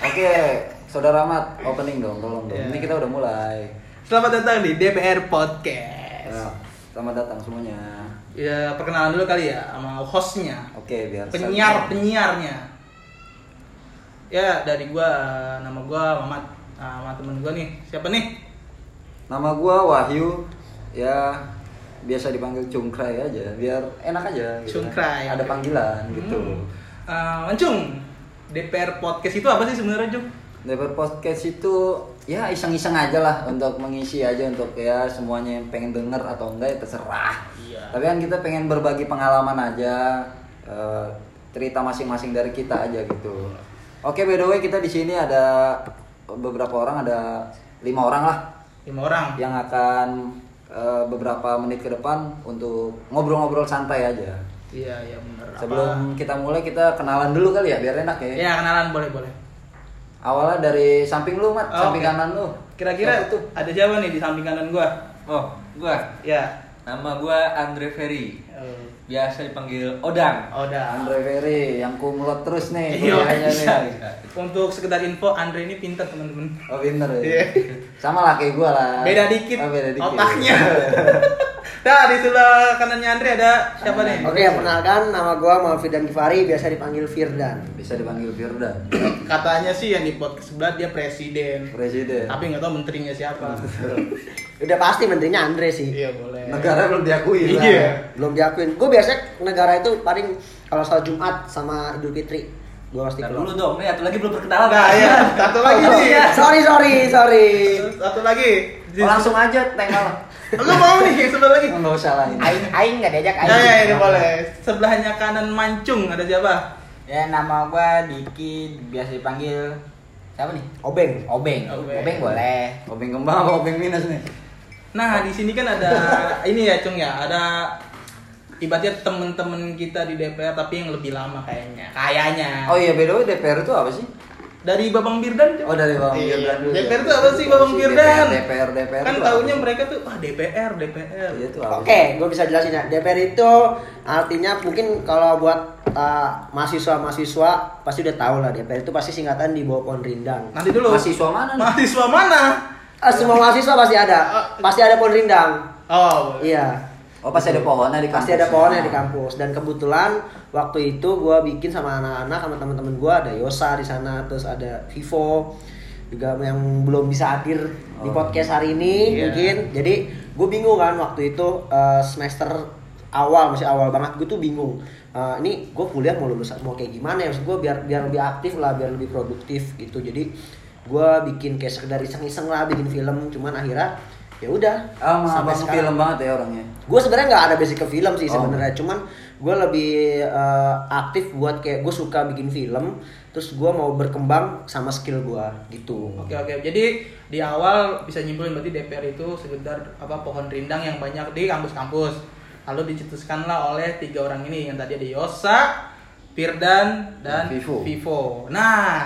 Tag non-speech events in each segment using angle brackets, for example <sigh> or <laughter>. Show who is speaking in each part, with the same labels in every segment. Speaker 1: Oke, saudara Mat, opening dong, tolong dong.
Speaker 2: Iya.
Speaker 1: Ini kita udah mulai.
Speaker 2: Selamat datang di DPR Podcast.
Speaker 1: Nah, selamat datang semuanya.
Speaker 2: Ya perkenalan dulu kali ya sama hostnya,
Speaker 1: Oke, biar
Speaker 2: penyiar penyiarnya. Ya dari gua nama gua Mamat, Nah, sama temen gua nih siapa nih?
Speaker 1: Nama gua Wahyu. Ya, biasa dipanggil Cungkrai aja, biar enak aja gitu.
Speaker 2: Cungkrai.
Speaker 1: Ada panggilan gitu.
Speaker 2: Hmm. Eh, Mencung, DPR Podcast itu apa sih sebenarnya Jung?
Speaker 1: Lebar podcast itu ya iseng-iseng aja lah untuk mengisi aja untuk ya semuanya yang pengen denger atau enggak ya terserah.
Speaker 2: Iya.
Speaker 1: Tapi kan kita pengen berbagi pengalaman aja eh, cerita masing-masing dari kita aja gitu. Oke, by the way kita di sini ada beberapa orang ada lima orang lah
Speaker 2: Lima orang.
Speaker 1: yang akan eh, beberapa menit ke depan untuk ngobrol-ngobrol santai aja.
Speaker 2: Iya iya bener. Apa-
Speaker 1: Sebelum kita mulai kita kenalan dulu kali ya biar enak ya.
Speaker 2: Ya kenalan boleh boleh.
Speaker 1: Awalnya dari samping lu, Mat,
Speaker 2: Oh,
Speaker 1: samping
Speaker 2: oke.
Speaker 1: kanan lu.
Speaker 2: Kira-kira
Speaker 1: Siapa tuh.
Speaker 2: ada siapa nih di samping kanan gua?
Speaker 3: Oh, gua.
Speaker 2: Ya.
Speaker 3: Nama gua Andre Ferry.
Speaker 2: Eh,
Speaker 3: Biasa dipanggil Odang.
Speaker 2: Oh, udah.
Speaker 1: Andre Ferry yang kumlot terus nih.
Speaker 2: Iya,
Speaker 1: kuliahnya
Speaker 2: bisa.
Speaker 1: nih.
Speaker 2: Untuk sekedar info, Andre ini pintar teman-teman.
Speaker 1: Oh pinter ya.
Speaker 2: Iya.
Speaker 1: Sama lah kayak gue lah.
Speaker 2: Beda dikit,
Speaker 1: Oh, beda dikit.
Speaker 2: otaknya. nah, di sebelah kanannya Andre ada siapa nih?
Speaker 4: Oke, perkenalkan nama gua Malfidan Givari, biasa dipanggil Firdan.
Speaker 1: <laughs> Bisa dipanggil Firda.
Speaker 2: Katanya sih yang di podcast sebelah dia presiden.
Speaker 1: Presiden.
Speaker 2: Tapi nggak tahu menterinya
Speaker 1: <laughs>
Speaker 2: siapa.
Speaker 4: Udah pasti menterinya Andre sih.
Speaker 2: iya, boleh.
Speaker 1: Negara belum diakui. lah.
Speaker 2: Iya.
Speaker 4: Belum diakuin. Gue biasanya negara itu paling kalau soal Jumat sama Idul Fitri. Gua pasti
Speaker 3: Ntar
Speaker 4: keluar. Oh, iya.
Speaker 3: dulu dong, nih satu lagi belum perkenalan.
Speaker 2: Nah, ya, satu lagi nih. ya.
Speaker 4: sorry, sorry, sorry.
Speaker 2: Satu lagi.
Speaker 1: Oh, langsung aja tengok.
Speaker 2: Lu mau nih yang sebelah
Speaker 1: <laughs>
Speaker 2: lagi?
Speaker 1: Enggak usah lah ini.
Speaker 5: Aing Aing nggak diajak Aing.
Speaker 2: Ya, ya, ini boleh. Sebelahnya kanan mancung ada siapa?
Speaker 5: Ya nama gua Diki biasa dipanggil siapa nih?
Speaker 4: Obeng.
Speaker 5: Obeng.
Speaker 2: Obeng.
Speaker 5: Obeng, boleh.
Speaker 1: Obeng kembang apa obeng minus nih?
Speaker 2: Nah, di sini kan
Speaker 1: <laughs>
Speaker 2: ada ini ya, Cung ya, ada ibaratnya temen-temen kita di DPR tapi yang lebih lama kayaknya. Kayaknya.
Speaker 1: Oh iya by the way DPR itu apa sih?
Speaker 2: Dari Babang Birdan. Cung.
Speaker 1: Oh dari Bang
Speaker 2: Iya.
Speaker 1: Firdan dulu. ya.
Speaker 2: DPR itu apa sih, Bang
Speaker 1: Si
Speaker 2: Firdan?
Speaker 1: DPR DPR.
Speaker 2: kan
Speaker 1: itu apa
Speaker 2: tahunya
Speaker 1: sih?
Speaker 2: mereka tuh wah DPR, DPR.
Speaker 1: Iya itu apa? sih?
Speaker 4: Oke, gue bisa jelasin ya. DPR itu artinya mungkin kalau buat uh, mahasiswa-mahasiswa pasti udah tahu lah DPR itu pasti singkatan di bawah pohon rindang.
Speaker 2: Nanti dulu.
Speaker 1: Mahasiswa mana nih?
Speaker 2: Mahasiswa mana?
Speaker 4: Eh, semua mahasiswa pasti ada, pasti ada pohon rindang.
Speaker 2: Oh.
Speaker 4: Iya.
Speaker 1: Oh pasti ada pohonnya di kampus. ya.
Speaker 4: pasti ada pohonnya di kampus dan kebetulan waktu itu gua bikin sama anak-anak sama teman-teman gua ada Yosa di sana terus ada Vivo juga yang belum bisa hadir
Speaker 1: Oh.
Speaker 4: di podcast hari ini
Speaker 2: Iya.
Speaker 4: mungkin jadi gue bingung kan waktu itu eh, semester awal masih awal banget gue tuh bingung Eh, ini gue kuliah mau lulus mau kayak gimana ya maksud gue biar biar lebih aktif lah biar lebih produktif gitu jadi gue bikin kayak sekedar iseng-iseng lah bikin film cuman akhirnya ya udah
Speaker 1: Ah, mah
Speaker 4: sampai
Speaker 1: abang
Speaker 4: sekarang
Speaker 1: film banget ya orangnya.
Speaker 4: gue sebenarnya nggak ada basic ke film sih
Speaker 1: Oh.
Speaker 4: sebenarnya cuman gue lebih eh, aktif buat kayak gue suka bikin film terus gue mau berkembang sama skill gue gitu
Speaker 2: Oke oke. Jadi di awal bisa nyimpulin berarti DPR itu sekedar apa pohon rindang yang banyak di kampus-kampus. Lalu dicetuskanlah oleh tiga orang ini yang tadi ada Yosa, Firdan dan
Speaker 1: Vivo.
Speaker 2: Nah,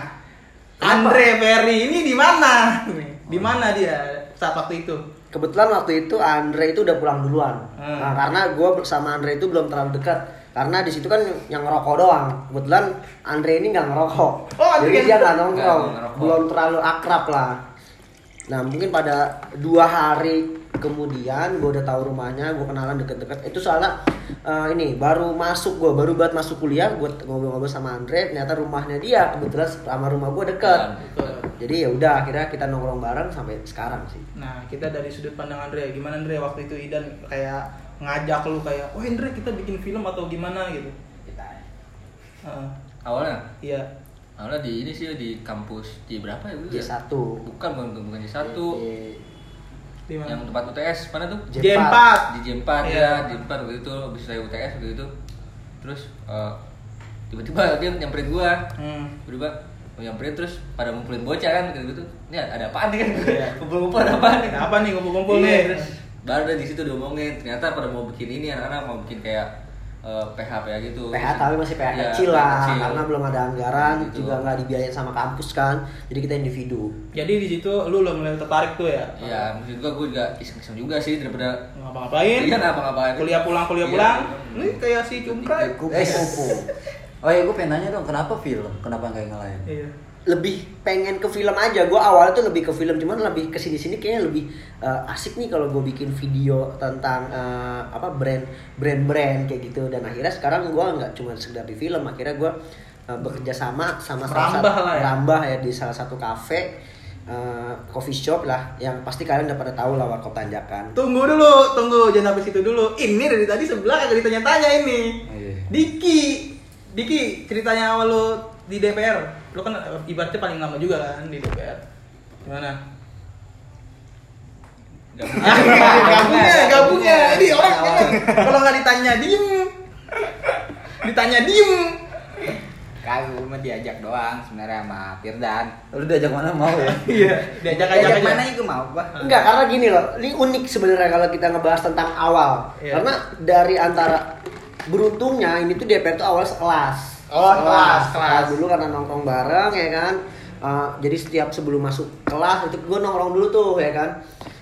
Speaker 2: Andre Ferry ini di mana? Di mana dia saat waktu itu?
Speaker 4: kebetulan waktu itu Andre itu udah pulang duluan
Speaker 2: Hmm.
Speaker 4: Nah, karena gue bersama Andre itu belum terlalu dekat karena di situ kan yang ngerokok doang kebetulan Andre ini nggak ngerokok
Speaker 2: Oh, Andre
Speaker 4: jadi
Speaker 2: nggak-
Speaker 4: dia nggak nongkrong
Speaker 3: Nggak ngerokok.
Speaker 4: belum terlalu akrab lah nah mungkin pada dua hari kemudian gue udah tahu rumahnya gue kenalan deket-deket itu soalnya eh, ini baru masuk gue baru buat masuk kuliah gue ngobrol-ngobrol sama Andre ternyata rumahnya dia kebetulan sama rumah gue deket
Speaker 2: Iya.
Speaker 4: jadi ya udah akhirnya kita nongkrong bareng sampai sekarang sih
Speaker 2: Nah, kita dari sudut pandang Andre, gimana Andre waktu itu Idan kayak ngajak lu kayak, "Wah, Andre, kita bikin film atau gimana?" gitu. Heeh.
Speaker 3: <laughs> Awalnya,
Speaker 2: iya.
Speaker 3: awalnya di ini sih di kampus di berapa ya? Bu?
Speaker 4: J1.
Speaker 3: Bukan, bukan, bukan J1.
Speaker 2: Di mana?
Speaker 3: Yang tempat UTS, mana tuh?
Speaker 4: J-
Speaker 2: J4.
Speaker 3: Di J4
Speaker 2: Iya.
Speaker 3: ya, J4 waktu itu habis saya UTS waktu itu. Terus eh, tiba-tiba dia nyamperin gua.
Speaker 2: Hmm.
Speaker 3: Tiba-tiba mau nyamperin terus pada ngumpulin bocah kan gitu gitu. Ini ada apaan nih kan?
Speaker 2: Iya.
Speaker 3: <laughs> Kumpul-kumpul ada apaan nih?
Speaker 2: Ada apa nih kumpul-kumpul
Speaker 3: Iya,
Speaker 2: nih?
Speaker 3: terus baru dari situ diomongin ternyata pada mau bikin ini anak-anak mau bikin kayak eh, PH PH gitu
Speaker 4: PH tapi masih PH
Speaker 3: Iya,
Speaker 4: kecil lah
Speaker 3: kecil.
Speaker 4: karena belum ada anggaran
Speaker 3: Gitu.
Speaker 4: juga nggak dibiayain sama kampus kan jadi kita individu
Speaker 2: Jadi di situ lu udah mulai tertarik tuh ya?
Speaker 3: iya maksud gua gua juga iseng-iseng juga sih daripada
Speaker 2: Ngapa-ngapain?
Speaker 3: Iya, ngapa-ngapain.
Speaker 2: Kuliah pulang, kuliah
Speaker 3: Iya.
Speaker 2: pulang. Ini kayak si Cungkrai.
Speaker 1: Kupu-kupu. Oh iya, gue pengen nanya dong, kenapa film? Kenapa nggak yang lain?
Speaker 2: Iya.
Speaker 4: lebih pengen ke film aja gue awalnya tuh lebih ke film cuman lebih ke sini sini kayaknya lebih uh, asik nih kalau gue bikin video tentang uh, apa brand brand brand kayak gitu dan akhirnya sekarang gue nggak cuma sekedar di film akhirnya gue uh, bekerja sama sama salah
Speaker 2: Merambah
Speaker 4: satu-
Speaker 2: lah ya.
Speaker 4: merambah ya di salah satu kafe uh, coffee shop lah yang pasti kalian udah pada tahu lah warkop tanjakan
Speaker 2: Tunggu dulu, tunggu jangan sampai situ dulu. Ini dari tadi sebelah kagak ditanya-tanya ini.
Speaker 5: Oh,
Speaker 1: Iya.
Speaker 2: Diki, Diki ceritanya awal lo di DPR, lo kan ibaratnya paling lama juga kan di DPR.
Speaker 5: <laughs>
Speaker 2: Gimana? gabungnya, gabungnya. Ini orang kadang kalau nggak ditanya diem, ditanya diem.
Speaker 5: Kagak gue mah diajak doang sebenarnya sama Firdan.
Speaker 1: Lu diajak mana mau ya?
Speaker 2: Iya, diajak aja
Speaker 5: Diajak
Speaker 2: aja.
Speaker 5: mana itu mau gua.
Speaker 4: Enggak, karena gini loh, ini unik sebenarnya kalau kita ngebahas tentang awal.
Speaker 2: Iya.
Speaker 4: Karena dari antara beruntungnya ini tuh DPR tuh awal sekelas.
Speaker 2: Oh, kelas, kelas.
Speaker 4: Nah, dulu karena nongkrong bareng ya kan. Eh, jadi setiap sebelum masuk kelas itu gue nongkrong dulu tuh ya kan.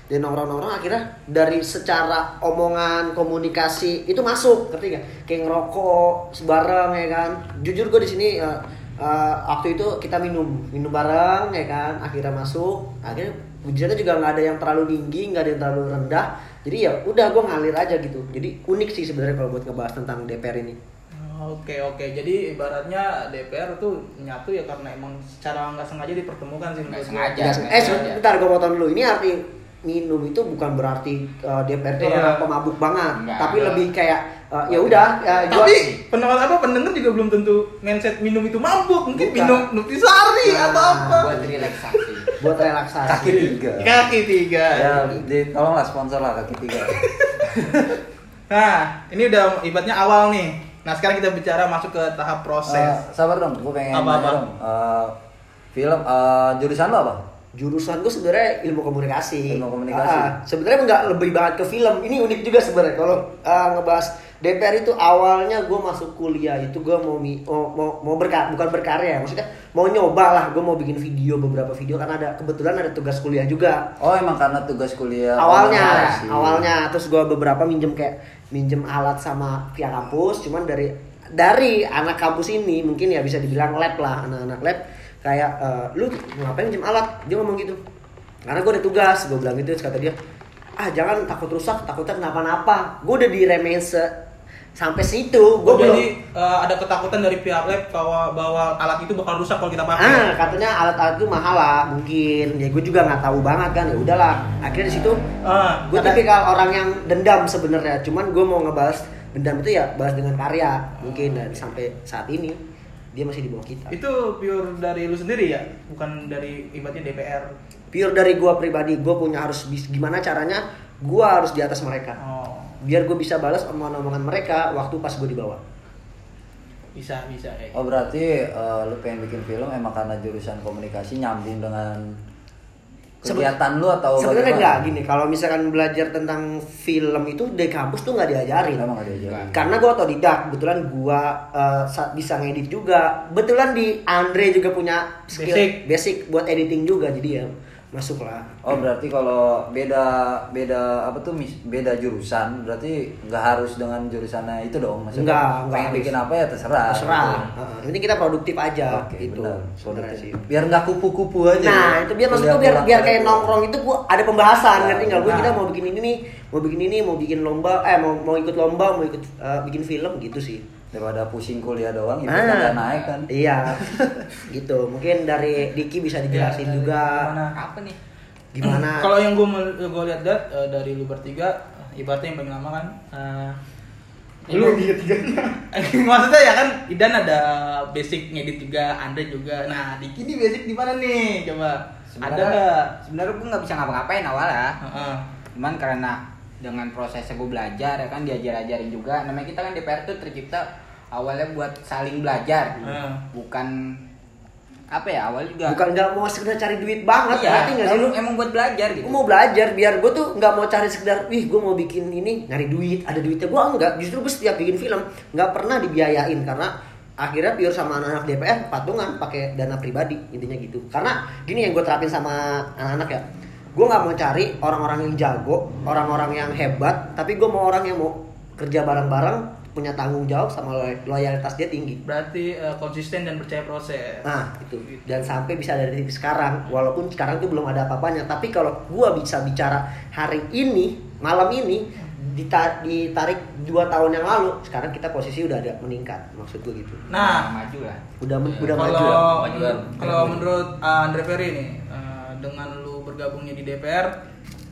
Speaker 4: Dia nongkrong-nongkrong akhirnya dari secara omongan, komunikasi itu masuk, ngerti nggak? Kayak ngerokok bareng ya kan. Jujur gue di sini eh, eh, waktu itu kita minum, minum bareng ya kan. Akhirnya masuk, akhirnya hujannya juga nggak ada yang terlalu tinggi, nggak ada yang terlalu rendah. Jadi ya udah gue ngalir aja gitu. Jadi unik sih sebenarnya kalau buat ngebahas tentang DPR ini.
Speaker 2: Oke oke, jadi ibaratnya DPR tuh nyatu ya karena emang secara nggak sengaja dipertemukan sih
Speaker 5: Nggak
Speaker 2: menurut gua.
Speaker 5: sengaja.
Speaker 4: Ya,
Speaker 5: nggak
Speaker 4: eh
Speaker 5: sengaja.
Speaker 4: sebentar gue potong dulu. Ini arti minum itu bukan berarti uh, DPR itu
Speaker 2: Iya.
Speaker 4: orang pemabuk banget,
Speaker 5: Enggak,
Speaker 4: tapi
Speaker 2: enggak.
Speaker 4: lebih kayak uh, ya udah uh, gua-
Speaker 2: Tapi pendengar apa pendengar juga belum tentu mindset minum itu mabuk, mungkin
Speaker 4: Bukan.
Speaker 2: minum nutrisari
Speaker 4: Nah,
Speaker 2: atau apa.
Speaker 5: Buat
Speaker 3: <laughs>
Speaker 5: relaksasi.
Speaker 4: buat relaksasi.
Speaker 1: Kaki tiga.
Speaker 4: Iya.
Speaker 2: Kaki tiga.
Speaker 1: Ya, di, tolonglah sponsor lah kaki tiga.
Speaker 4: <laughs>
Speaker 2: Nah, ini udah ibatnya awal nih. Nah, sekarang kita bicara masuk ke tahap proses.
Speaker 4: Ah.
Speaker 1: Eh, sabar dong, gue pengen
Speaker 2: Apa-apa?
Speaker 1: nanya dong. Eh, film, eh, jurusan lo apa?
Speaker 4: Jurusan gue sebenarnya ilmu komunikasi.
Speaker 1: Ilmu komunikasi.
Speaker 4: Ah, sebenarnya nggak lebih banget ke film. Ini unik juga sebenarnya kalau uh, ngebahas DPR itu awalnya gue masuk kuliah itu gue mau mi- mau mau, mau berka- bukan berkarya maksudnya mau nyoba lah gue mau bikin video beberapa video karena ada kebetulan ada tugas kuliah juga
Speaker 1: Oh emang karena tugas kuliah.
Speaker 4: awalnya
Speaker 1: komunikasi.
Speaker 4: awalnya terus gua beberapa minjem kayak minjem alat sama pihak kampus cuman dari dari anak kampus ini mungkin ya bisa dibilang lab lah anak-anak lab kayak eh, lu ngapain minjem alat dia ngomong gitu karena gua ada tugas gua bilang gitu terus kata dia ah jangan takut rusak takutnya kenapa-napa gua udah diremehin se- sampai situ
Speaker 2: Gua
Speaker 4: gua belum
Speaker 2: jadi eh, ada ketakutan dari pihak lab bahwa bahwa alat itu bakal rusak kalau kita pakai.
Speaker 4: ah katanya alat-alat itu mahal lah mungkin ya gue juga nggak tahu banget kan ya udahlah akhirnya di situ
Speaker 2: Ah,
Speaker 4: gue
Speaker 2: ada-
Speaker 4: tipikal orang yang dendam sebenarnya cuman gue mau ngebahas dendam itu ya bahas dengan karya mungkin dan sampai saat ini dia masih di bawah kita
Speaker 2: Itu pure dari lu sendiri ya, bukan dari ibatnya DPR.
Speaker 4: pure dari gue pribadi gue punya harus bis- gimana caranya gue harus di atas mereka
Speaker 2: Oh.
Speaker 4: biar gue bisa balas omongan-omongan mereka waktu pas gue di bawah
Speaker 2: Bisa, bisa. kayak gitu.
Speaker 1: Oh berarti eh, lu pengen bikin film emang karena jurusan komunikasi nyambung dengan kegiatan lu atau
Speaker 4: sebenarnya
Speaker 1: bagaimana?
Speaker 4: nggak gini kalau misalkan belajar tentang film itu di kampus tuh nggak diajarin
Speaker 1: Emang nggak diajarin.
Speaker 4: karena gue otodidak kebetulan gue bisa ngedit juga kebetulan di Andre juga punya skill
Speaker 2: Basic.
Speaker 4: buat editing juga jadi ya masuklah
Speaker 1: Oh berarti kalau beda beda apa tuh mis- beda jurusan berarti nggak harus dengan jurusannya itu dong maksudnya
Speaker 4: Nggak, nggak
Speaker 1: pengen
Speaker 4: harus.
Speaker 1: bikin apa ya terserah.
Speaker 4: terserah Heeh, yang penting ah, kita produktif aja
Speaker 1: Oke,
Speaker 4: gitu
Speaker 1: benar.
Speaker 4: sebenarnya sih
Speaker 1: Biar nggak kupu-kupu aja.
Speaker 4: Nah,
Speaker 1: ya.
Speaker 4: itu biar maksud
Speaker 1: Kuliah
Speaker 4: gue biar
Speaker 1: pulang
Speaker 4: biar
Speaker 1: pada
Speaker 4: kayak
Speaker 1: pulang.
Speaker 4: nongkrong itu gua ada pembahasan
Speaker 1: Nah,
Speaker 4: ngerti nggak? Gue
Speaker 2: nah.
Speaker 4: kita mau bikin ini nih, mau bikin ini, mau bikin lomba, eh mau mau ikut lomba, mau ikut eh, bikin film gitu sih.
Speaker 1: Daripada pusing kuliah doang itu
Speaker 4: Ah.
Speaker 1: kan nggak naik kan.
Speaker 4: Iya. <laughs> gitu. Mungkin dari Diki bisa
Speaker 2: Iya,
Speaker 4: dijelasin
Speaker 2: dari
Speaker 4: juga
Speaker 2: gimana?
Speaker 5: Apa nih?
Speaker 4: gimana.
Speaker 2: <clears throat> Kalau yang gue gue lihat dat eh, dari lu bertiga, eh, ibaratnya yang paling lama kan. eh, lu <laughs> maksudnya ya kan Idan ada basic ngedit juga, Andre juga. Nah, Diki ini basic di mana nih? Coba. Ada nggak?
Speaker 5: Sebenarnya gue nggak bisa ngapa-ngapain awalnya.
Speaker 2: Heeh.
Speaker 5: Cuman karena dengan prosesnya gue belajar ya kan diajar-ajarin juga. Namanya kita kan DPR tuh tercipta awalnya buat saling belajar,
Speaker 2: Heeh.
Speaker 5: bukan apa ya awalnya juga.
Speaker 4: bukan nggak mau sekedar cari duit banget,
Speaker 5: Iya,
Speaker 4: ngerti nggak sih lu?
Speaker 5: lu emang buat belajar gitu.
Speaker 4: Gue
Speaker 2: Nah.
Speaker 4: mau belajar biar gue tuh nggak mau cari sekedar, wih gue mau bikin ini nyari duit, ada duitnya gue enggak. Justru gue setiap bikin film nggak pernah dibiayain karena akhirnya biar sama anak-anak DPR patungan pakai dana pribadi intinya gitu. Karena gini yang gue terapin sama anak-anak ya, gue nggak mau cari orang-orang yang jago, orang-orang yang hebat, tapi gue mau orang yang mau kerja bareng-bareng punya tanggung jawab sama lo- loyalitas dia tinggi
Speaker 2: Berarti eh, konsisten dan percaya proses.
Speaker 4: Nah, itu. Dan sampai bisa ada di titik sekarang, walaupun sekarang tuh belum ada apa-apanya, tapi kalau gua bisa bicara hari ini, malam ini dita- ditarik dua tahun yang lalu, sekarang kita posisi udah ada meningkat, maksud gua gitu.
Speaker 2: Nah,
Speaker 5: maju lah
Speaker 4: Udah men-
Speaker 3: Iya.
Speaker 4: udah maju.
Speaker 2: kalau Iya.
Speaker 4: lah.
Speaker 3: maju lah.
Speaker 2: kalau menurut uh, Andre Ferry nih uh, dengan lu bergabungnya di DPR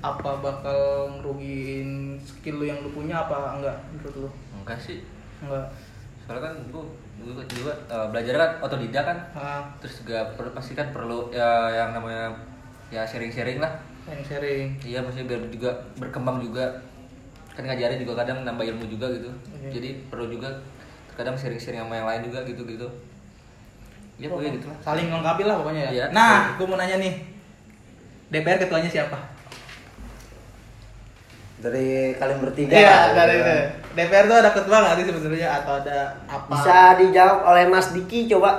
Speaker 2: apa bakal ngerugiin skill lu yang lu punya apa enggak menurut lu
Speaker 5: Iya.
Speaker 3: enggak sih
Speaker 2: enggak
Speaker 3: soalnya kan gua gua juga eh, belajar kan otodidak kan
Speaker 2: Ah,
Speaker 3: terus juga perlu pasti kan perlu ya, yang namanya ya sharing-sharing lah
Speaker 2: yang sharing
Speaker 3: iya maksudnya biar juga berkembang juga kan ngajarin juga kadang nambah ilmu juga gitu
Speaker 5: Iya.
Speaker 2: Oke.
Speaker 3: jadi perlu juga kadang sharing-sharing sama yang lain juga gitu gitu ya pokoknya gitu lah
Speaker 2: saling melengkapi lah pokoknya ya
Speaker 3: Iya.
Speaker 2: nah gue mau nanya nih DPR ketuanya siapa
Speaker 1: dari kalian bertiga
Speaker 2: Iya,
Speaker 1: gitu
Speaker 2: dari
Speaker 1: kan.
Speaker 2: DPR tuh ada ketua nggak sih sebenarnya atau ada apa
Speaker 4: Bisa dijawab oleh Mas Diki coba.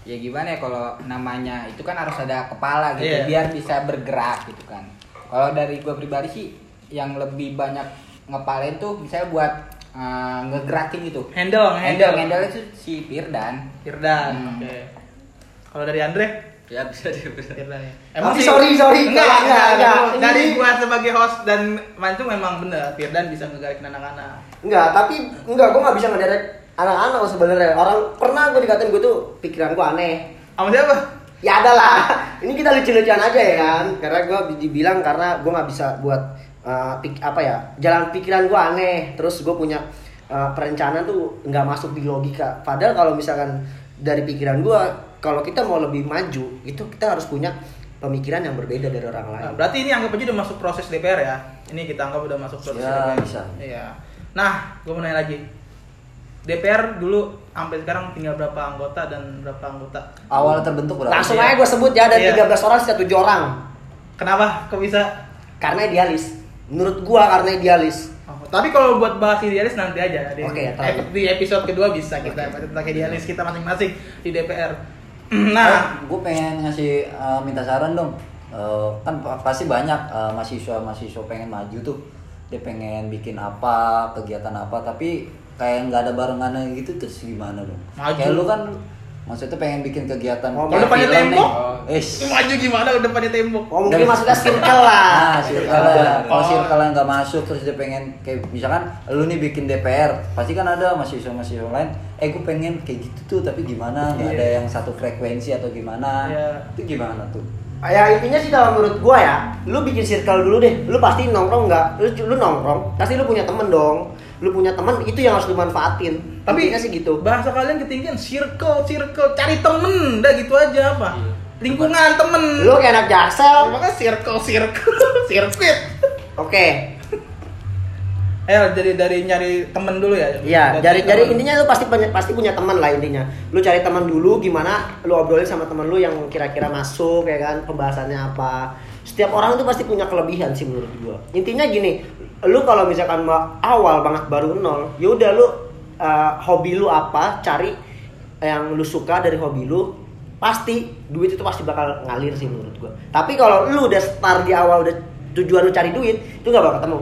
Speaker 5: ya gimana ya kalau namanya itu kan harus ada kepala gitu
Speaker 2: Iya.
Speaker 5: biar bisa bergerak gitu kan kalau dari gua pribadi sih yang lebih banyak ngepalain tuh misalnya buat eh, ngegerakin gitu
Speaker 2: handle
Speaker 5: handle handle itu si Firdan
Speaker 2: Firdan
Speaker 5: Hmm.
Speaker 2: oke kalau dari Andre
Speaker 3: ya bisa deh bisa
Speaker 2: Firdan ya
Speaker 4: Tapi sorry, sorry,
Speaker 2: enggak
Speaker 4: enggak,
Speaker 2: enggak,
Speaker 4: enggak, enggak.
Speaker 2: dari
Speaker 4: Ini-
Speaker 2: gua sebagai host dan mancung memang bener Firdan bisa ngegarakin anak-anak
Speaker 4: Enggak, tapi enggak gua nggak bisa ngedirect anak-anak sebenarnya. Orang pernah gua dikatain gua tuh pikiran gua aneh.
Speaker 2: sama siapa
Speaker 4: ya ada lah <laughs> ini kita lucu-lucuan aja ya kan karena gue dibilang karena gue nggak bisa buat uh, pik- apa ya jalan pikiran gue aneh terus gue punya uh, perencanaan tuh nggak masuk di logika padahal kalau misalkan dari pikiran gue kalau kita mau lebih maju itu kita harus punya pemikiran yang berbeda dari orang lain
Speaker 2: Nah, berarti ini anggap aja udah masuk proses DPR ya ini kita anggap udah masuk proses
Speaker 1: Ya,
Speaker 2: DPR
Speaker 1: bisa.
Speaker 2: iya nah gua mau nanya lagi DPR dulu sampai sekarang tinggal berapa anggota dan berapa anggota
Speaker 1: awal terbentuk berapa
Speaker 4: langsung
Speaker 2: iya.
Speaker 4: aja gue sebut ya dari
Speaker 2: Iya.
Speaker 4: 13 orang satu orang
Speaker 2: kenapa kok bisa
Speaker 4: karena idealis menurut gue karena idealis
Speaker 2: Oh, tapi kalau buat bahas idealis nanti aja
Speaker 1: ya,
Speaker 2: di,
Speaker 4: Oke,
Speaker 2: eh,
Speaker 4: tahu.
Speaker 2: di episode kedua bisa kita bahas tentang idealis kita masing-masing di DPR. <clears throat> Nah,
Speaker 1: gue Eh, pengen ngasih eh, minta saran dong Eh, kan pa- pasti banyak eh, mahasiswa-mahasiswa pengen maju tuh dia pengen bikin apa kegiatan apa tapi kayak nggak ada barengannya gitu terus gimana dong
Speaker 2: Maju.
Speaker 1: kayak lu kan maksudnya pengen bikin kegiatan
Speaker 4: Oh,
Speaker 1: kayak
Speaker 2: depannya
Speaker 1: film
Speaker 2: tembok.
Speaker 1: nih. Eh, Ish.
Speaker 2: maju gimana udah pada tembok?
Speaker 4: oh mungkin
Speaker 1: Dari- <laughs>
Speaker 4: maksudnya circle lah
Speaker 2: <laughs>
Speaker 1: Ah, circle
Speaker 2: Oh.
Speaker 1: kalau circle yang nggak masuk terus dia pengen kayak misalkan lu nih bikin DPR pasti kan ada mahasiswa mahasiswa lain eh gue pengen kayak gitu tuh tapi gimana nggak
Speaker 2: Iya.
Speaker 1: ada yang satu frekuensi atau gimana
Speaker 2: Iya.
Speaker 1: itu gimana tuh
Speaker 4: Ya intinya sih kalau menurut gua ya, lu bikin circle dulu deh. Lu pasti nongkrong nggak? Lu, lu nongkrong, pasti lu punya temen dong. Lu punya temen itu yang harus dimanfaatin.
Speaker 2: Tapi-
Speaker 4: Intinya sih gitu.
Speaker 2: Bahasa kalian ketinggian circle, circle, cari temen, udah gitu aja apa?
Speaker 3: Iya.
Speaker 2: Lingkungan temen.
Speaker 4: Lu kayak anak jaksel.
Speaker 2: Makanya circle, circle, sirkuit.
Speaker 4: Oke.
Speaker 2: Eh, dari dari nyari temen dulu ya.
Speaker 4: Iya, dari dari
Speaker 2: temen.
Speaker 4: intinya lu pasti punya- pasti punya teman lah intinya. Lu cari teman dulu gimana lu obrolin sama teman lu yang kira-kira masuk ya kan, pembahasannya apa. Setiap orang itu pasti punya kelebihan sih menurut gua. Intinya gini, lu kalau misalkan ma- awal banget baru nol, ya udah lu eh, hobi lu apa, cari yang lu suka dari hobi lu pasti duit itu pasti bakal ngalir sih menurut gua. Tapi kalau lu udah start di awal udah tujuan lu cari duit, itu gak bakal ketemu.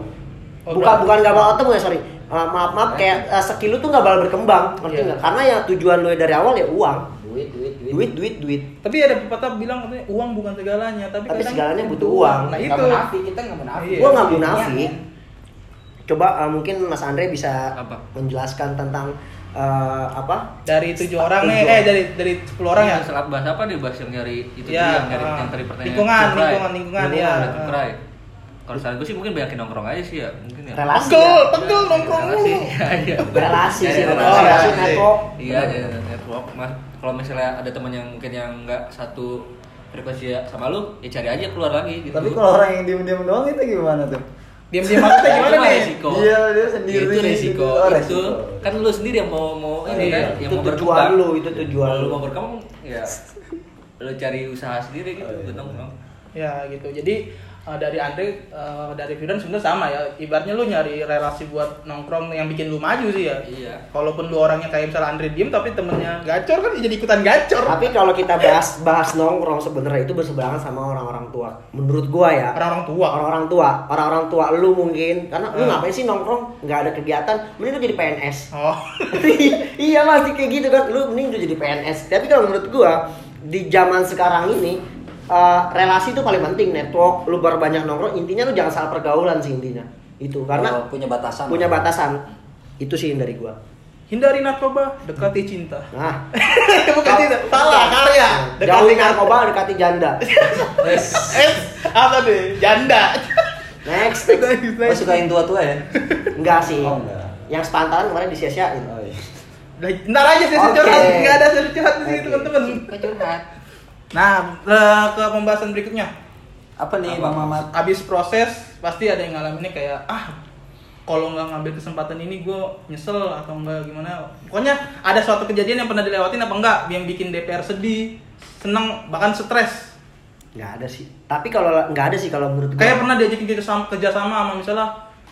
Speaker 2: Oh,
Speaker 4: Bukan
Speaker 2: berarti-
Speaker 4: bukan gak bakal ketemu ya sorry. Eh, maaf maaf kayak eh, skill lu tuh gak bakal berkembang, ngerti
Speaker 2: Iya.
Speaker 4: nggak? Karena ya tujuan lu dari awal ya uang,
Speaker 5: duit duit duit,
Speaker 4: duit duit duit.
Speaker 2: Tapi ada pepatah bilang katanya uang bukan segalanya, tapi,
Speaker 4: Tapi
Speaker 2: kadang
Speaker 4: segalanya butuh uang.
Speaker 2: Nah
Speaker 5: Nggak
Speaker 2: itu.
Speaker 5: munafik kita nggak munafik
Speaker 2: Iya.
Speaker 4: Gua nggak
Speaker 5: Duitnya,
Speaker 4: munafik.
Speaker 5: kan?
Speaker 4: Coba eh, mungkin Mas Andre bisa
Speaker 3: Apa?
Speaker 4: menjelaskan tentang eh, apa?
Speaker 2: Dari tujuh orang
Speaker 4: Tujuh
Speaker 2: nih, eh dari dari sepuluh orang ya.
Speaker 3: yang salah bahasa apa deh bahas yang nyari
Speaker 2: Iya,
Speaker 3: itu tadi, Iya, yang nyari
Speaker 2: ah.
Speaker 3: yang tadi pertanyaan
Speaker 2: Lingkungan,
Speaker 3: Cukrai.
Speaker 2: lingkungan, lingkungan, iya.
Speaker 3: ada cukrai. kalau saran gue sih mungkin banyakin nongkrong aja sih ya mungkin ya
Speaker 4: Relasi.
Speaker 2: Pegel,
Speaker 4: ya.
Speaker 2: pegel nongkrong
Speaker 3: Relasi.
Speaker 2: mulu.
Speaker 3: Iya, iya.
Speaker 4: Relasi sih,
Speaker 3: Nyari
Speaker 4: relasi,
Speaker 2: Oh,
Speaker 4: relasi,
Speaker 2: relasi.
Speaker 4: network.
Speaker 3: iya jadi network mas kalau misalnya ada teman yang mungkin yang nggak satu frekuensi sama lu ya cari aja keluar lagi gitu
Speaker 1: Tapi kalau orang yang diem-diem doang itu gimana tuh?
Speaker 2: Diam-diam aja
Speaker 3: Ya, itu
Speaker 2: gimana
Speaker 3: mah
Speaker 2: nih?
Speaker 3: resiko
Speaker 1: Iya, dia sendiri
Speaker 3: itu
Speaker 1: gitu.
Speaker 3: resiko
Speaker 1: Oh,
Speaker 3: itu
Speaker 1: resiko.
Speaker 3: kan lu sendiri yang mau mau
Speaker 2: Iya,
Speaker 3: ini kan yang
Speaker 4: itu
Speaker 3: mau
Speaker 4: tujuan
Speaker 3: berkembang.
Speaker 4: lu, itu tujuan
Speaker 3: Kalau lu
Speaker 4: lu.
Speaker 3: mau berkembang ya lu cari usaha sendiri gitu
Speaker 1: Oh, iya.
Speaker 3: buat nongkrong
Speaker 2: Ya gitu. Jadi eh, dari Andre eh, dari Firdan sebenarnya sama ya ibaratnya lu nyari relasi buat nongkrong yang bikin lu maju sih ya
Speaker 3: Iya.
Speaker 2: Kalaupun lu orangnya kayak misalnya Andre diem tapi temennya gacor kan jadi ikutan gacor.
Speaker 4: Tapi kalau kita bahas bahas nongkrong sebenarnya itu berseberangan sama orang-orang tua. Menurut gua ya.
Speaker 2: Orang-orang tua.
Speaker 4: Orang-orang tua, orang-orang tua lu mungkin karena lu
Speaker 2: Hmm.
Speaker 4: ngapain sih nongkrong? nggak ada kegiatan, mending lu jadi PNS.
Speaker 2: Oh.
Speaker 4: iya masih kayak gitu kan lu mending lu jadi PNS tapi kalau menurut gua di zaman sekarang ini eh, relasi itu paling penting network lu berbanyak nongkrong intinya lu jangan salah pergaulan sih intinya itu karena
Speaker 1: Kalau punya batasan
Speaker 4: punya batasan itu sih yang dari gua
Speaker 2: Hindari narkoba, dekati cinta. <laughs>
Speaker 4: nah
Speaker 2: Bukan cinta, kan salah karya.
Speaker 4: jauhi narkoba dekati janda
Speaker 2: Eh, apa deh? Janda.
Speaker 4: next
Speaker 1: Gua suka yang tua-tua ya
Speaker 4: enggak sih
Speaker 1: Oh, enggak.
Speaker 4: yang sepantaran kemarin disia-siain
Speaker 1: Oh, iya.
Speaker 2: Ntar aja sih
Speaker 4: Oke.
Speaker 2: curhat, nggak ada sesi curhat di sini
Speaker 4: Oke.
Speaker 2: teman-teman.
Speaker 5: Kecurhat.
Speaker 2: Nah, eh, ke pembahasan berikutnya.
Speaker 1: apa nih
Speaker 3: Apa?
Speaker 1: Bang Mamat
Speaker 2: Abis proses pasti ada yang ngalaminnya kayak ah kalau nggak ngambil kesempatan ini gue nyesel atau enggak gimana pokoknya ada suatu kejadian yang pernah dilewatin apa enggak yang bikin DPR sedih seneng bahkan stres
Speaker 4: nggak ada sih tapi kalau nggak ada sih kalau menurut gua
Speaker 2: kayak pernah diajakin kerjasama, kerjasama sama misalnya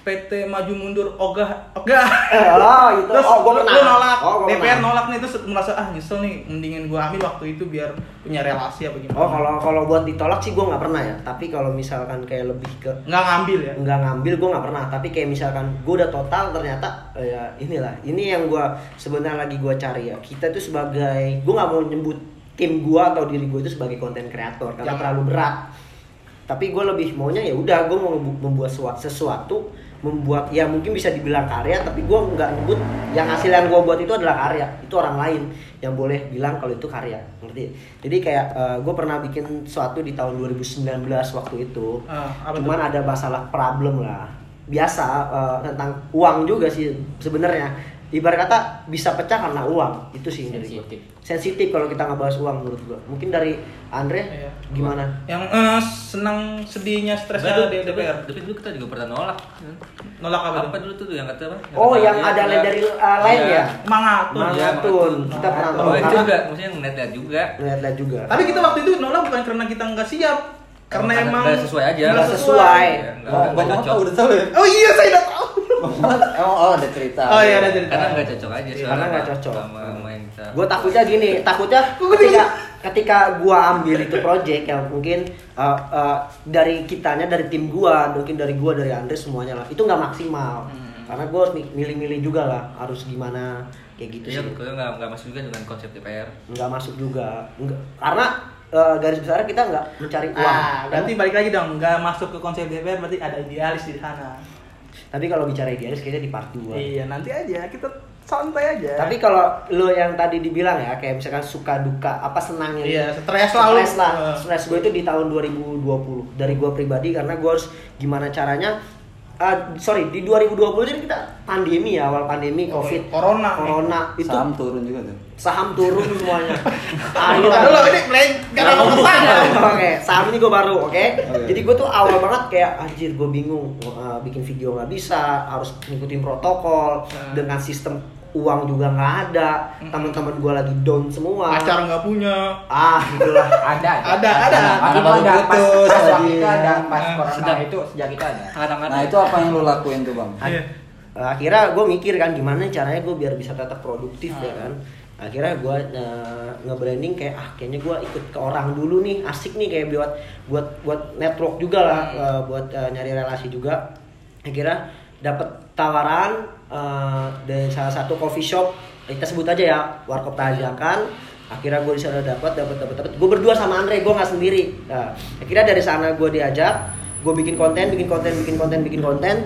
Speaker 2: PT maju mundur ogah ogah
Speaker 4: Eh, oh itu
Speaker 2: terus
Speaker 4: oh gua
Speaker 2: lu-
Speaker 4: pernah
Speaker 2: lu nolak
Speaker 4: oh, gua
Speaker 2: DPR
Speaker 4: pernah.
Speaker 2: nolak nih terus merasa ah nyesel nih mendingin gua ambil waktu itu biar punya relasi apa gimana
Speaker 4: Oh kalau kalau buat ditolak sih gue nggak pernah ya. Tapi kalau misalkan kayak lebih ke
Speaker 2: nggak ngambil ya
Speaker 4: nggak ngambil gue nggak pernah. Tapi kayak misalkan gue udah total ternyata eh, ya inilah ini yang gue sebenarnya lagi gue cari ya. Kita tuh sebagai gue nggak mau nyebut tim gue atau diri gue itu sebagai konten kreator karena
Speaker 2: Jangan.
Speaker 4: terlalu berat. Tapi gue lebih maunya ya udah gue mau ngebu- membuat sua- sesuatu membuat ya mungkin bisa dibilang karya tapi gue nggak nyebut yang hasil yang gue buat itu adalah karya itu orang lain yang boleh bilang kalau itu karya ngerti jadi kayak gue pernah bikin sesuatu di tahun 2019 waktu itu
Speaker 2: Ah, apa
Speaker 4: cuman ada masalah problem lah biasa eh, tentang uang juga sih sebenarnya ibarat kata bisa pecah karena uang itu sih yang dari gua.
Speaker 5: Sensitif.
Speaker 4: sensitif kalau kita ngebahas uang menurut gua mungkin dari Andre
Speaker 2: Iya.
Speaker 4: gimana
Speaker 2: yang eh, senang sedihnya stresnya di DPR
Speaker 3: Tapi dulu kita juga pernah nolak.
Speaker 2: nolak apa, tuh?
Speaker 3: Apa dulu tuh yang kata apa?
Speaker 4: oh
Speaker 3: kata-
Speaker 4: yang
Speaker 3: iya,
Speaker 4: ada lain
Speaker 3: iya.
Speaker 4: dari eh, lain
Speaker 3: Iya.
Speaker 4: ya nah.
Speaker 2: mangatun
Speaker 3: Mang-
Speaker 4: mangatun
Speaker 3: Mangatun.
Speaker 4: kita pernah
Speaker 3: Oh, itu
Speaker 4: nonton
Speaker 3: juga, maksudnya ngeliat-liat juga.
Speaker 4: lihat-lihat juga
Speaker 2: tapi kita waktu itu nolak bukan karena kita nggak siap karena
Speaker 3: Karena
Speaker 2: emang
Speaker 3: nggak sesuai aja.
Speaker 2: nggak
Speaker 4: nggak sesuai
Speaker 3: Iya, nggak-
Speaker 1: Bang
Speaker 3: nggak
Speaker 1: Mamat
Speaker 3: cocok.
Speaker 1: udah tahu ya
Speaker 2: oh iya saya udah tahu
Speaker 1: Bang Mamat emang oh ada cerita
Speaker 2: oh iya ada cerita
Speaker 3: Karena nggak cocok aja.
Speaker 4: Iya,
Speaker 3: soalnya
Speaker 4: karena nggak
Speaker 3: sama-
Speaker 4: cocok.
Speaker 3: Sama main kita.
Speaker 4: gue takutnya gini takutnya ketika ketika gue ambil itu project yang mungkin uh, uh, dari kitanya dari tim gue mungkin dari gue dari Andre semuanya lah itu nggak maksimal
Speaker 2: Hmm.
Speaker 4: karena gue harus mi- milih-milih juga lah harus gimana kayak gitu
Speaker 3: Iya,
Speaker 4: sih
Speaker 3: kalau nggak nggak masuk juga dengan konsep DPR.
Speaker 4: nggak masuk juga Nggak- karena uh, garis besarnya kita nggak mencari uang
Speaker 2: ah berarti balik lagi dong nggak masuk ke konsep DPR berarti ada idealis di sana
Speaker 4: tapi kalau bicara idealis kayaknya di part 2
Speaker 2: iya nanti aja kita santai aja
Speaker 4: Tapi kalau lo yang tadi dibilang ya, kayak misalkan suka duka, apa senangnya? gitu.
Speaker 2: Iya, stres lah lu.
Speaker 4: Stres lah.
Speaker 2: Eh.
Speaker 4: Stres gue itu di tahun 2020 dari gue pribadi karena gue harus gimana caranya ah, sorry di 2020 itu kan kita pandemi ya awal pandemi
Speaker 2: Oh,
Speaker 4: covid
Speaker 2: corona.
Speaker 4: corona itu
Speaker 1: saham turun juga tuh
Speaker 4: saham turun semuanya
Speaker 1: <laughs>
Speaker 2: Ah,
Speaker 4: Ayo
Speaker 2: kita dulu ini main karena kamu
Speaker 4: Oke, saham ini gue baru, oke?
Speaker 1: Oke.
Speaker 4: Jadi gue tuh awal banget kayak anjir gue bingung uh, bikin video nggak bisa, harus ngikutin protokol
Speaker 2: Hmm.
Speaker 4: dengan sistem uang juga nggak ada,
Speaker 2: Mm-mm.
Speaker 4: teman-teman gue lagi down semua.
Speaker 2: pacar nggak punya
Speaker 4: Ah, gitulah.
Speaker 5: Ada.
Speaker 2: Ada, ada.
Speaker 5: Anak
Speaker 1: Anak
Speaker 5: baru
Speaker 1: baru
Speaker 5: ada pas,
Speaker 1: putus
Speaker 5: pas
Speaker 1: lagi.
Speaker 5: waktu itu ada pas
Speaker 2: Nah,
Speaker 5: corona
Speaker 3: sedang.
Speaker 5: itu sejak itu ada.
Speaker 3: Kadang-kadang.
Speaker 1: nah itu apa yang lu lakuin tuh Bang
Speaker 4: Ad-
Speaker 2: Iya.
Speaker 4: Uh, akhirnya gue mikir kan gimana caranya gue biar bisa tetap produktif ya kan akhirnya gue uh, nge-branding kayak ah kayaknya gue ikut ke orang dulu nih asik nih kayak buat buat buat network juga lah uh, buat uh, nyari relasi juga akhirnya dapat tawaran uh, dari salah satu coffee shop kita sebut aja ya warkop tajakan akhirnya gue di sana dapat dapat dapat dapat gue berdua sama Andre gue nggak sendiri nah, akhirnya dari sana gue diajak gue bikin konten, bikin konten, bikin konten, bikin konten.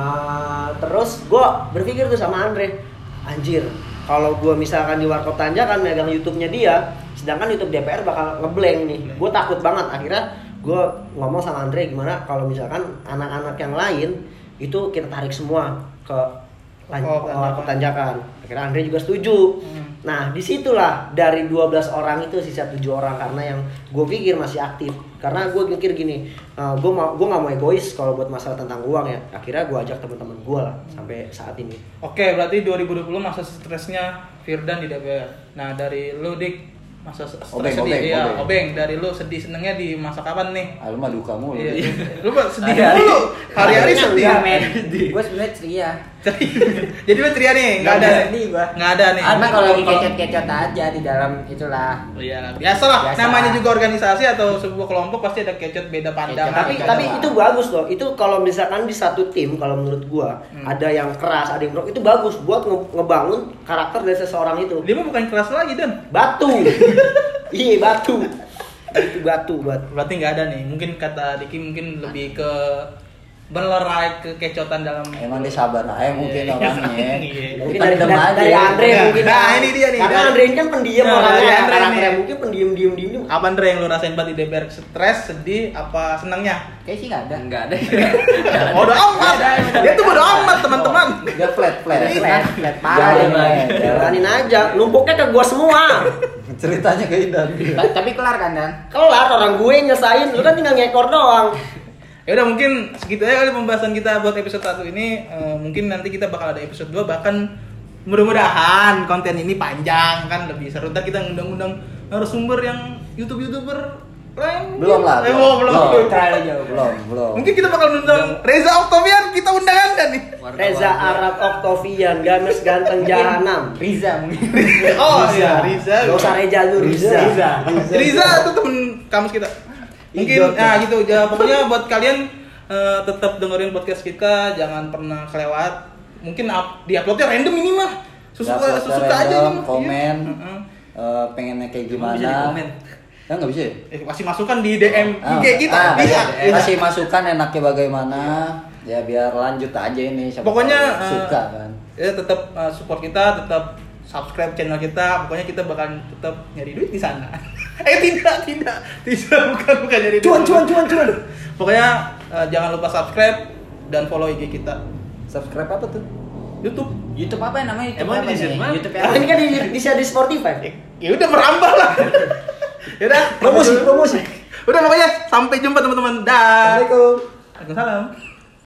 Speaker 4: Ah, terus gue berpikir tuh sama Andre, anjir, kalau gue misalkan di warkop Tanja kan megang YouTube-nya dia, sedangkan YouTube DPR bakal ngeblank nih. Gue takut banget. Akhirnya gue ngomong sama Andre gimana kalau misalkan anak-anak yang lain itu kita tarik semua ke lan-
Speaker 2: Oh, Tanjakan.
Speaker 4: warkop Tanjakan. Akhirnya Andre juga setuju.
Speaker 2: Hmm.
Speaker 4: Nah, disitulah dari 12 orang itu sisa 7 orang karena yang gue pikir masih aktif. Karena gue pikir gini, gue mau gue nggak mau egois kalau buat masalah tentang uang ya. Akhirnya gue ajak teman-teman gue lah sampai saat ini.
Speaker 2: Oke, berarti 2020 masa stresnya Firdan di DPR. Nah, dari lu Dik, masa se- stres
Speaker 1: Obeng,
Speaker 2: sedih
Speaker 1: obeng,
Speaker 2: Iya,
Speaker 1: obeng.
Speaker 2: obeng dari lu sedih senengnya di masa kapan nih
Speaker 1: Ah, lu mah duka mulu.
Speaker 2: Iya. lu mah sedih
Speaker 1: Hari-hari-
Speaker 2: dulu hari-hari sedih
Speaker 5: Enggak, men. Gue sebenarnya ceria.
Speaker 2: <laughs> jadi lu ceria nih nggak ada ya?
Speaker 5: Nggak sedih gua.
Speaker 2: nggak ada nih
Speaker 5: Cuma kalau lagi kecot-kecot aja di dalam itulah.
Speaker 2: Iya, biasa lah.
Speaker 5: Biasa.
Speaker 2: Namanya juga organisasi atau sebuah kelompok pasti ada kecot beda pandangan.
Speaker 5: Kecot,
Speaker 4: tapi
Speaker 5: Jangan
Speaker 4: tapi
Speaker 5: lupa.
Speaker 4: itu bagus loh itu kalau misalkan di satu tim kalau menurut gua
Speaker 2: Hmm.
Speaker 4: ada yang keras ada yang rock itu bagus buat nge- ngebangun karakter dari seseorang itu
Speaker 2: dia mah bukan kelas lagi dan <laughs>
Speaker 4: batu iya batu itu batu buat
Speaker 2: berarti nggak ada nih. Mungkin kata Diki mungkin lebih ke melerai ke kecotan dalam.
Speaker 1: Emang dia sabar aja mungkin
Speaker 2: Iya.
Speaker 1: orangnya.
Speaker 2: Iya.
Speaker 1: Bukan
Speaker 4: dari,
Speaker 1: dendam
Speaker 4: dari,
Speaker 1: aja.
Speaker 4: dari Andre
Speaker 2: Nah,
Speaker 4: mungkin
Speaker 2: nah,
Speaker 4: kan.
Speaker 2: ini dia nih,
Speaker 4: karena
Speaker 2: dari-
Speaker 4: Andre ini kan pendiam
Speaker 2: Nah,
Speaker 4: orangnya
Speaker 2: dari Andre
Speaker 4: karakternya
Speaker 2: nih.
Speaker 4: mungkin pendiam diem diem diem.
Speaker 2: Apa Andre yang lu rasain banget di DPR stres, sedih, apa senangnya?
Speaker 5: Kayak sih enggak ada.
Speaker 3: Enggak
Speaker 4: <laughs>
Speaker 3: ada.
Speaker 2: Bodoh amat. Dia tuh bodoh amat teman-teman.
Speaker 1: Dia flat flat.
Speaker 5: Flat, flat, flat parah dia,
Speaker 1: Jalanin
Speaker 5: Bang.
Speaker 1: aja, jalanin.
Speaker 4: jalanin aja numpuknya ke gua semua
Speaker 1: Ceritanya ke Indan.
Speaker 5: Ta- Tapi kelar kan dan.
Speaker 4: kelar orang gue nyesain lu kan tinggal ngekor doang
Speaker 2: Ya udah mungkin segitu aja kali pembahasan kita buat episode 1 ini. Eh, mungkin nanti kita bakal ada episode 2 bahkan mudah-mudahan konten ini panjang kan lebih seru. Ntar kita ngundang-undang narasumber yang YouTube-YouTuber lain.
Speaker 1: Belum lah.
Speaker 2: Eh, belum. belum.
Speaker 1: Terlalu jauh. Belum, belum.
Speaker 2: Mungkin kita bakal ngundang Reza Oktovian, kita undang Anda nih.
Speaker 4: Reza Arab Oktavian Games ganteng Jahanam
Speaker 5: Riza mungkin.
Speaker 2: Oh iya, Reza.
Speaker 4: Gak usah Reza dulu Riza.
Speaker 2: Riza itu temen kamus kita. Mungkin
Speaker 4: Idol.
Speaker 2: nah gitu ya pokoknya buat kalian eh, tetap dengerin podcast kita, jangan pernah kelewat. Mungkin up, diuploadnya random ini mah. Susu
Speaker 1: Upload
Speaker 2: susu
Speaker 1: random,
Speaker 2: aja ini mah.
Speaker 1: Komen.
Speaker 2: Iya. Heeh.
Speaker 1: eh, pengennya kayak
Speaker 3: Emang
Speaker 1: gimana?
Speaker 3: bisa dikomen?
Speaker 1: Ya nggak bisa. ya?
Speaker 2: Eh, kasih masukan di DM
Speaker 1: Ah,
Speaker 2: IG kita.
Speaker 1: ah,
Speaker 2: gitu, bisa.
Speaker 1: iya. Kasih masukan enaknya bagaimana? Ya biar lanjut aja ini. siapa
Speaker 2: Pokoknya
Speaker 1: tahu
Speaker 2: eh,
Speaker 1: suka kan.
Speaker 2: Ya tetap eh, support kita, tetap subscribe channel kita. Pokoknya kita bakal tetap nyari duit di sana. <laughs> eh tidak, tidak. Tidak bukan bukan nyari duit.
Speaker 1: Cuan, cuan, cuan, cuan.
Speaker 2: Pokoknya eh, jangan lupa subscribe dan follow IG kita.
Speaker 1: Subscribe apa tuh?
Speaker 2: YouTube.
Speaker 5: YouTube apa ya namanya? YouTube
Speaker 3: Emang
Speaker 5: apa
Speaker 3: di
Speaker 5: nih?
Speaker 3: Jerman?
Speaker 5: YouTube
Speaker 4: Karena ini kan di, di, share di Spotify.
Speaker 2: Ya udah merambah lah. <laughs> ya udah.
Speaker 1: Promosi, promosi.
Speaker 2: Udah pokoknya sampai jumpa teman-teman. Dah.
Speaker 1: Assalamualaikum.
Speaker 2: Waalaikumsalam.